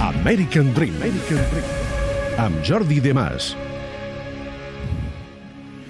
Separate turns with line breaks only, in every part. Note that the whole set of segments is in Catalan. American Dream. American Dream. Amb Jordi Demàs.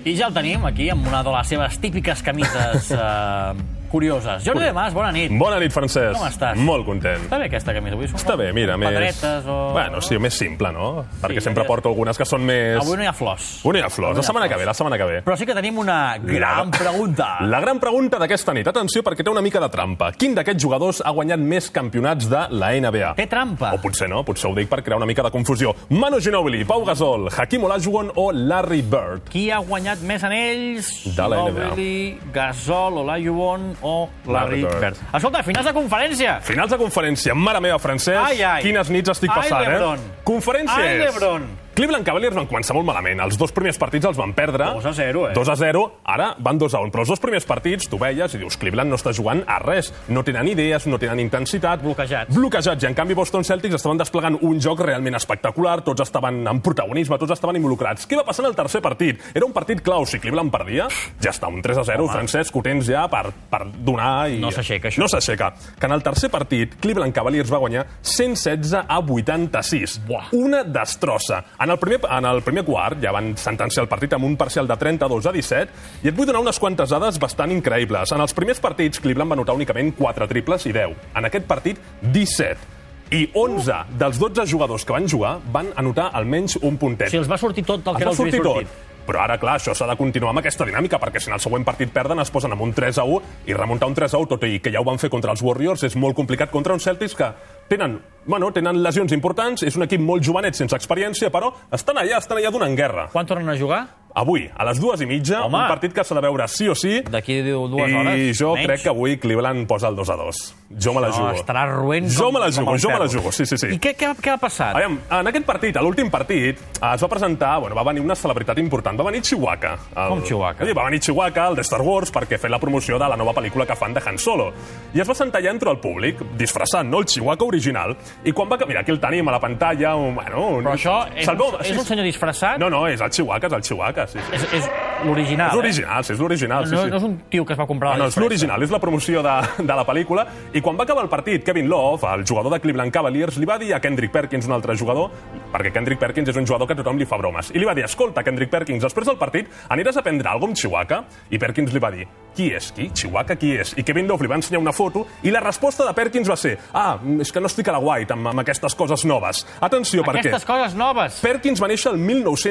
I ja el tenim aquí amb una de les seves típiques camises eh, curioses. Jordi de Mas, bona nit.
Bona nit, Francesc.
Com estàs?
Molt content.
Està bé aquesta camisa, avui són
Està bé, mira, més...
pedretes o...
Bueno, sí, més simple, no? Perquè
Sí,
sempre
eh?
porto algunes que són més...
Avui no hi ha flors.
Avui no hi ha flors. La setmana que ve, la setmana que ve.
Però sí que tenim una gran pregunta.
La gran pregunta d'aquesta nit, atenció, perquè té una mica de trampa. Quin d'aquests jugadors ha guanyat més campionats de la NBA?
Té trampa.
O potser no, potser ho dic per crear una mica de confusió. Manu Ginobili, Pau Gasol, Hakim Olajuwon o Larry Bird?
Qui ha guanyat més anells?
De la NBA.
Ginobili, Gasol, Olajuwon o Larry
Larry Bird.
Bird. Escolta, finals de conferència.
Finals de conferència. Mare meva, Francesc,
Ai, ai.
quines nits estic
Ai,
passant,
Lebron.
eh? Conferències.
Ai, Lebron.
Cleveland Cavaliers van començar molt malament. Els dos primers partits els van perdre.
2 a 0, eh?
2 a 0, ara van 2 a 1. Però els dos primers partits, tu veies i dius, Cleveland no està jugant a res. No tenen idees, no tenen intensitat.
Bloquejats.
Bloquejats. I en canvi Boston Celtics estaven desplegant un joc realment espectacular. Tots estaven en protagonisme, tots estaven involucrats. Què va passar en el tercer partit? Era un partit clau. Si Cleveland perdia, ja està, un 3 a 0.
Home.
Francesc, ho tens ja per, per donar... I...
No s'aixeca, això.
No s'aixeca. Que en el tercer partit, Cleveland Cavaliers va guanyar 116 a 86.
Buah.
Una destrossa. En el, primer, en el primer quart ja van sentenciar el partit amb un parcial de 32 a 17 i et vull donar unes quantes dades bastant increïbles. En els primers partits, Cleveland va notar únicament 4 triples i 10. En aquest partit, 17. I 11 dels 12 jugadors que van jugar van anotar almenys un puntet.
Si els va sortir tot el que no els
Els va
havia
sortir
sortit.
tot. Però ara, clar, això s'ha de continuar amb aquesta dinàmica, perquè si en el següent partit perden es posen amb un 3 a 1 i remuntar un 3 a 1, tot i que ja ho van fer contra els Warriors, és molt complicat contra uns Celtics que tenen, bueno, tenen lesions importants, és un equip molt jovenet, sense experiència, però estan allà, estan allà donant guerra.
Quan tornen a jugar?
Avui, a les dues i mitja,
Home.
un partit que s'ha de veure sí o sí,
D'aquí dues
i
hores?
jo
menys.
crec que avui Cleveland posa el 2 a 2. Jo me la
No,
jugo.
estarà roent
Jo
com-
me la
com
jugo,
el
jo me la
ferro.
jugo, sí, sí, sí.
I què, què, què ha passat?
Aviam, en aquest partit, a l'últim partit, eh, es va presentar, bueno, va venir una celebritat important. Va venir Chihuahua. El...
Com Chewbacca?
Sí, va venir Chihuahua, el de Star Wars, perquè fer la promoció de la nova pel·lícula que fan de Han Solo. I es va sentar allà entre el públic, disfressant, no? El Chihuahua original. I quan va... ca- Mira, aquí el tenim a la pantalla, un, bueno... Un...
Però això és,
Se'l veu-
un, és un senyor disfressat?
No, no, és el Chihuahua, és el Chihuahua, sí, sí.
És, és l'original, eh?
És l'original, sí, és l'original, sí,
No,
sí.
no és un tio que es va comprar...
No,
la
no, és
disfressa.
l'original, és la promoció de, de la pel·lícula. I quan va acabar el partit, Kevin Love, el jugador de Cleveland Cavaliers, li va dir a Kendrick Perkins, un altre jugador, perquè Kendrick Perkins és un jugador que tothom li fa bromes, i li va dir, escolta, Kendrick Perkins, després del partit aniràs a prendre alguna cosa amb Chihuahua? I Perkins li va dir, qui és qui? Chihuahua qui és? I Kevin Love li va ensenyar una foto i la resposta de Perkins va ser, ah, és que no estic a la White amb, amb aquestes coses noves. Atenció, perquè...
Aquestes coses noves.
Perkins va néixer el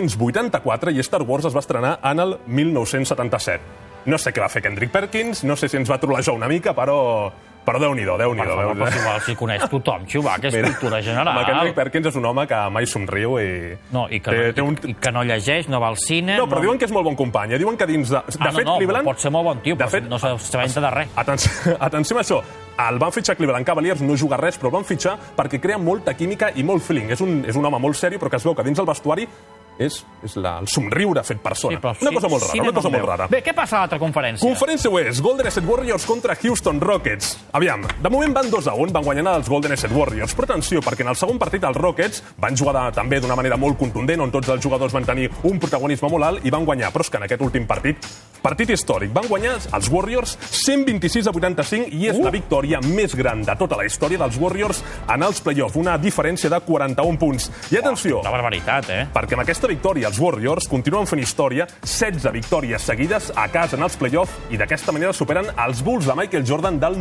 1984 i Star Wars es va estrenar en el 1977. No sé què va fer Kendrick Perkins, no sé si ens va trollejar una mica, però... Però Déu-n'hi-do,
Per
Déu-n'hi-do.
favor,
Déu-n'hi-do.
però si vols, si coneix tothom, Chewbacca, és
Mira,
cultura general.
el Kendrick Perkins és un home que mai somriu i...
No, i que,
té,
no,
té un...
i que no llegeix, no va al cine...
No, però diuen que és molt bon company. eh? Diuen que dins de... de
Ah, no,
fet,
no,
Cleveland...
pot ser molt bon tio,
de
però
fet,
no s'aventa de res.
Atenció, atenció amb això. El van fitxar Cleveland Cavaliers, no juga res, però el van fitxar perquè crea molta química i molt feeling. És un, és un home molt seriós, però que es veu que dins el vestuari és, és la, el somriure fet persona.
Sí, però
una
ci-
cosa molt rara,
cine
una
no
cosa
en
molt
veu.
rara.
Bé, què passa a l'altra conferència?
Conferència West, Golden State Warriors contra Houston Rockets. Aviam, de moment van 2 a 1, van guanyant els Golden State Warriors, però atenció, perquè en el segon partit els Rockets van jugar de, també d'una manera molt contundent, on tots els jugadors van tenir un protagonisme molt alt i van guanyar, però és que en aquest últim partit, partit històric, van guanyar els Warriors 126 a 85 i és la victòria més gran de tota la història dels Warriors en els play-off, una diferència de 41 punts. I atenció,
La barbaritat, eh?
perquè amb aquesta victòria els Warriors continuen fent història, 16 victòries seguides a casa en els play-off i d'aquesta manera superen els Bulls de Michael Jordan del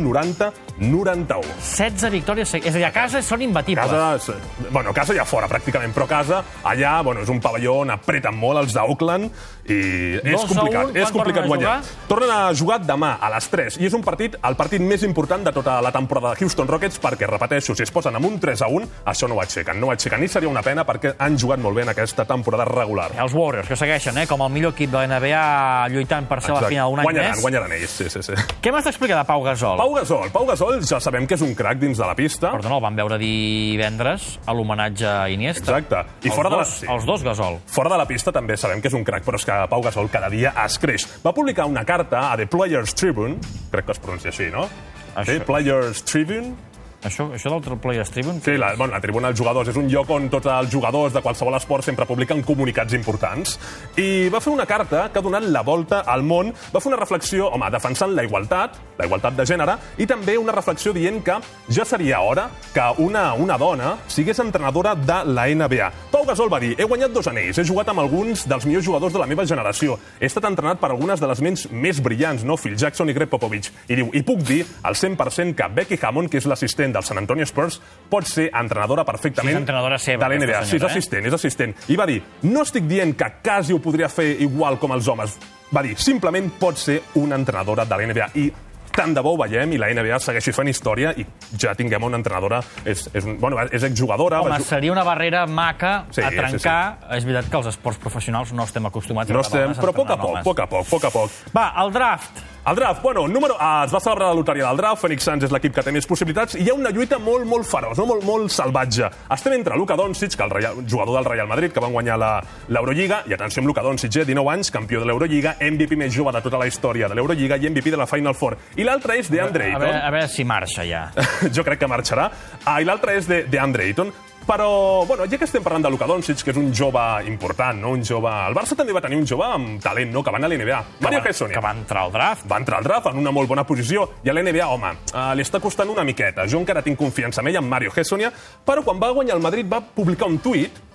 90-91.
16 victòries... seguides. És a dir, a casa són imbatibles.
Casa, és- bueno, casa ja fora, pràcticament, però casa, allà, bueno, és un pavelló on apreten molt els d'Auckland i és
Dos a
complicat,
un,
és
quan tornen
complicat
a
guanyar.
jugar?
Tornen a jugar demà a les 3 i és un partit, el partit més important de tota la temporada de Houston Rockets perquè, repeteixo, si es posen amb un 3 a 1, això no ho aixequen, no ho aixequen i seria una pena perquè han jugat molt bé en aquesta temporada regular.
Els Warriors, que segueixen, eh, com el millor equip de la NBA lluitant per ser a la
Exacte.
final un any
guanyaran,
més.
Guanyaran ells, sí, sí, sí.
Què m'has d'explicar de Pau Gasol?
Pau Gasol, Pau Gasol ja sabem que és un crac dins de la pista.
Perdona, el vam veure divendres a l'homenatge a Iniesta.
Exacte. I
els
fora de la-
dos,
sí.
Els dos, Gasol.
Fora de la pista també sabem que és un crac, però és que Pau Gasol cada dia es creix. Va publicar una carta a The Players Tribune, crec que es pronuncia així, no?
Això.
The Players Tribune,
Això, això del Players Tribune...
Sí, la, bueno, la tribuna dels jugadors és un lloc on tots els jugadors de qualsevol esport sempre publiquen comunicats importants. I va fer una carta que ha donat la volta al món. Va fer una reflexió, home, defensant la igualtat, la igualtat de gènere, i també una reflexió dient que ja seria hora que una, una dona sigués entrenadora de la NBA. Pau Gasol va dir, he guanyat dos anells, he jugat amb alguns dels millors jugadors de la meva generació, he estat entrenat per algunes de les ments més brillants, no? Phil Jackson i Greg Popovich. I diu, i puc dir al 100% que Becky Hammond, que és l'assistent del San Antonio Spurs, pot ser entrenadora perfectament
Sí, és entrenadora seva,
de la NBA.
aquesta
Sí, és
senyora, eh?
assistent, és assistent. I va dir, no estic dient que quasi ho podria fer igual com els homes. Va dir, simplement pot ser una entrenadora de la NBA. I tant de bo ho veiem i la NBA segueixi fent història i ja tinguem una entrenadora... És, és, un, bueno, és exjugadora... va
Home,
ju-
seria una barrera maca
Sí,
sí, a
sí,
trencar. Sí, sí. És veritat que els esports professionals no estem acostumats
No
a veure
estem,
dones
però poc a
entrenant
poc,
homes.
poc a poc, poc a poc.
Va, el draft.
El draft, bueno, número... Ah, es va celebrar la loteria del draft, Phoenix Suns és l'equip que té més possibilitats, i hi ha una lluita molt, molt feroç, no? molt, molt salvatge. Estem entre Luka Doncic, que el Real, jugador del Real Madrid, que van guanyar la- l'Eurolliga, i atenció amb Luka Doncic, eh? 19 anys, campió de l'Eurolliga, MVP més jove de tota la història de l'Eurolliga i MVP de la Final Four. I l'altre és de Andre
A veure,
Ayton.
a veure si marxa ja.
jo crec que marxarà. Ah, I l'altre és de, de Andre Ayton. Però, bueno, ja que estem parlant de Luka Doncic, que és un jove important, no? un jove... El Barça també va tenir un jove amb talent, no?, que va anar a l'NBA. Mario
que, va,
Gessoni
que va entrar al draft.
va entrar al draft en una molt bona posició i a l'NBA, home, eh, li està costant una miqueta. Jo encara tinc confiança en ell, en Mario Gessonia, però quan va guanyar el Madrid va publicar un tuit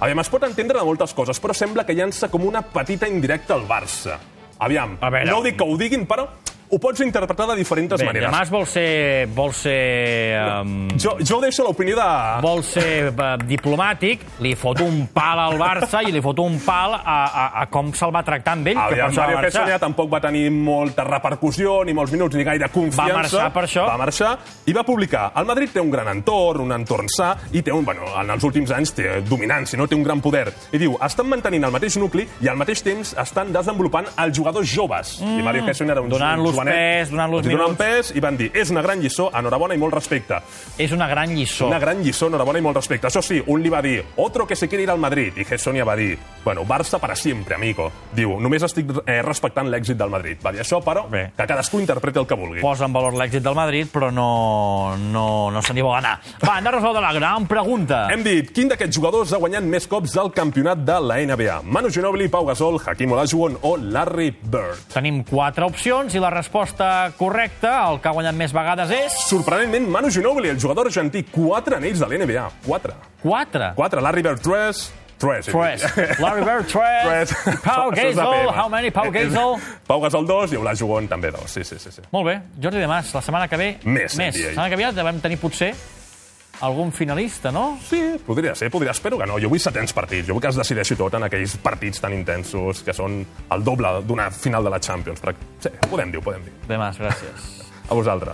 Aviam, es pot entendre de moltes coses, però sembla que llança com una petita indirecta al Barça. Aviam,
A veure,
no dic que ho diguin, però ho pots interpretar de diferents
Bé,
maneres.
Llamàs vol ser... Vol ser um,
Jo, jo ho deixo a l'opinió de...
vol ser eh, diplomàtic, li fot un pal al Barça i li fot un pal a, a, a com se'l va tractar amb ell, que per
Aviam,
això va
Mario Gessonia
marxar.
tampoc va tenir molta repercussió, ni molts minuts, ni gaire confiança.
Va marxar per això.
Va marxar i va publicar. El Madrid té un gran entorn, un entorn sa, i té un, bueno, en els últims anys té dominància, no? té un gran poder. I diu, estan mantenint el mateix nucli i al mateix temps estan desenvolupant els jugadors joves. Mm. I Mario Gessonia era un
Donant-los
jovenet.
pes, donant-los
Els hi donen
minuts.
pes i van dir, és una gran lliçó, enhorabona i molt respecte.
És una gran lliçó.
Una gran lliçó, enhorabona i molt respecte. Això sí, un li va dir, otro que se quiere ir al Madrid. I Gessonia va dir, bueno, Barça para siempre, amigo. Diu, només estic eh, respectant l'èxit del Madrid. Va dir això, però
Bé.
que cadascú interpreti el que vulgui.
posa en valor l'èxit del Madrid, però no, no, no se n'hi vol anar. Va, hem de resoldre la gran pregunta.
Hem dit, quin d'aquests jugadors ha guanyat més cops el campionat de la NBA? Manu Ginobili, Pau Gasol, Hakim Olajuwon o Larry Bird?
Tenim quatre opcions i la resposta correcta, el que ha guanyat més vegades, és...
Sorprenentment, Manu Ginobili, el jugador argentí, 4 anells de l'NBA. 4.
Quatre.
4. Larry Bird, 3. 3.
Tres. Larry Bird, tres.
Tres.
Pau
Això és
Gasol,
APM.
how many Pau Gasol?
Pau Gasol 2 i Olajuwon també 2. Sí, sí, sí. sí.
Molt bé, Jordi de Mas, la setmana que ve...
Més,
Més.
NBA.
La setmana que ve ja vam tenir potser algun finalista, no?
Sí, podria ser, podria. Espero que no. Jo vull setents partits. Jo vull que es decideixi tot en aquells partits tan intensos que són el doble d'una final de la Champions. Però, sí, ho podem dir, ho podem dir.
De Mas, gràcies.
A vosaltres.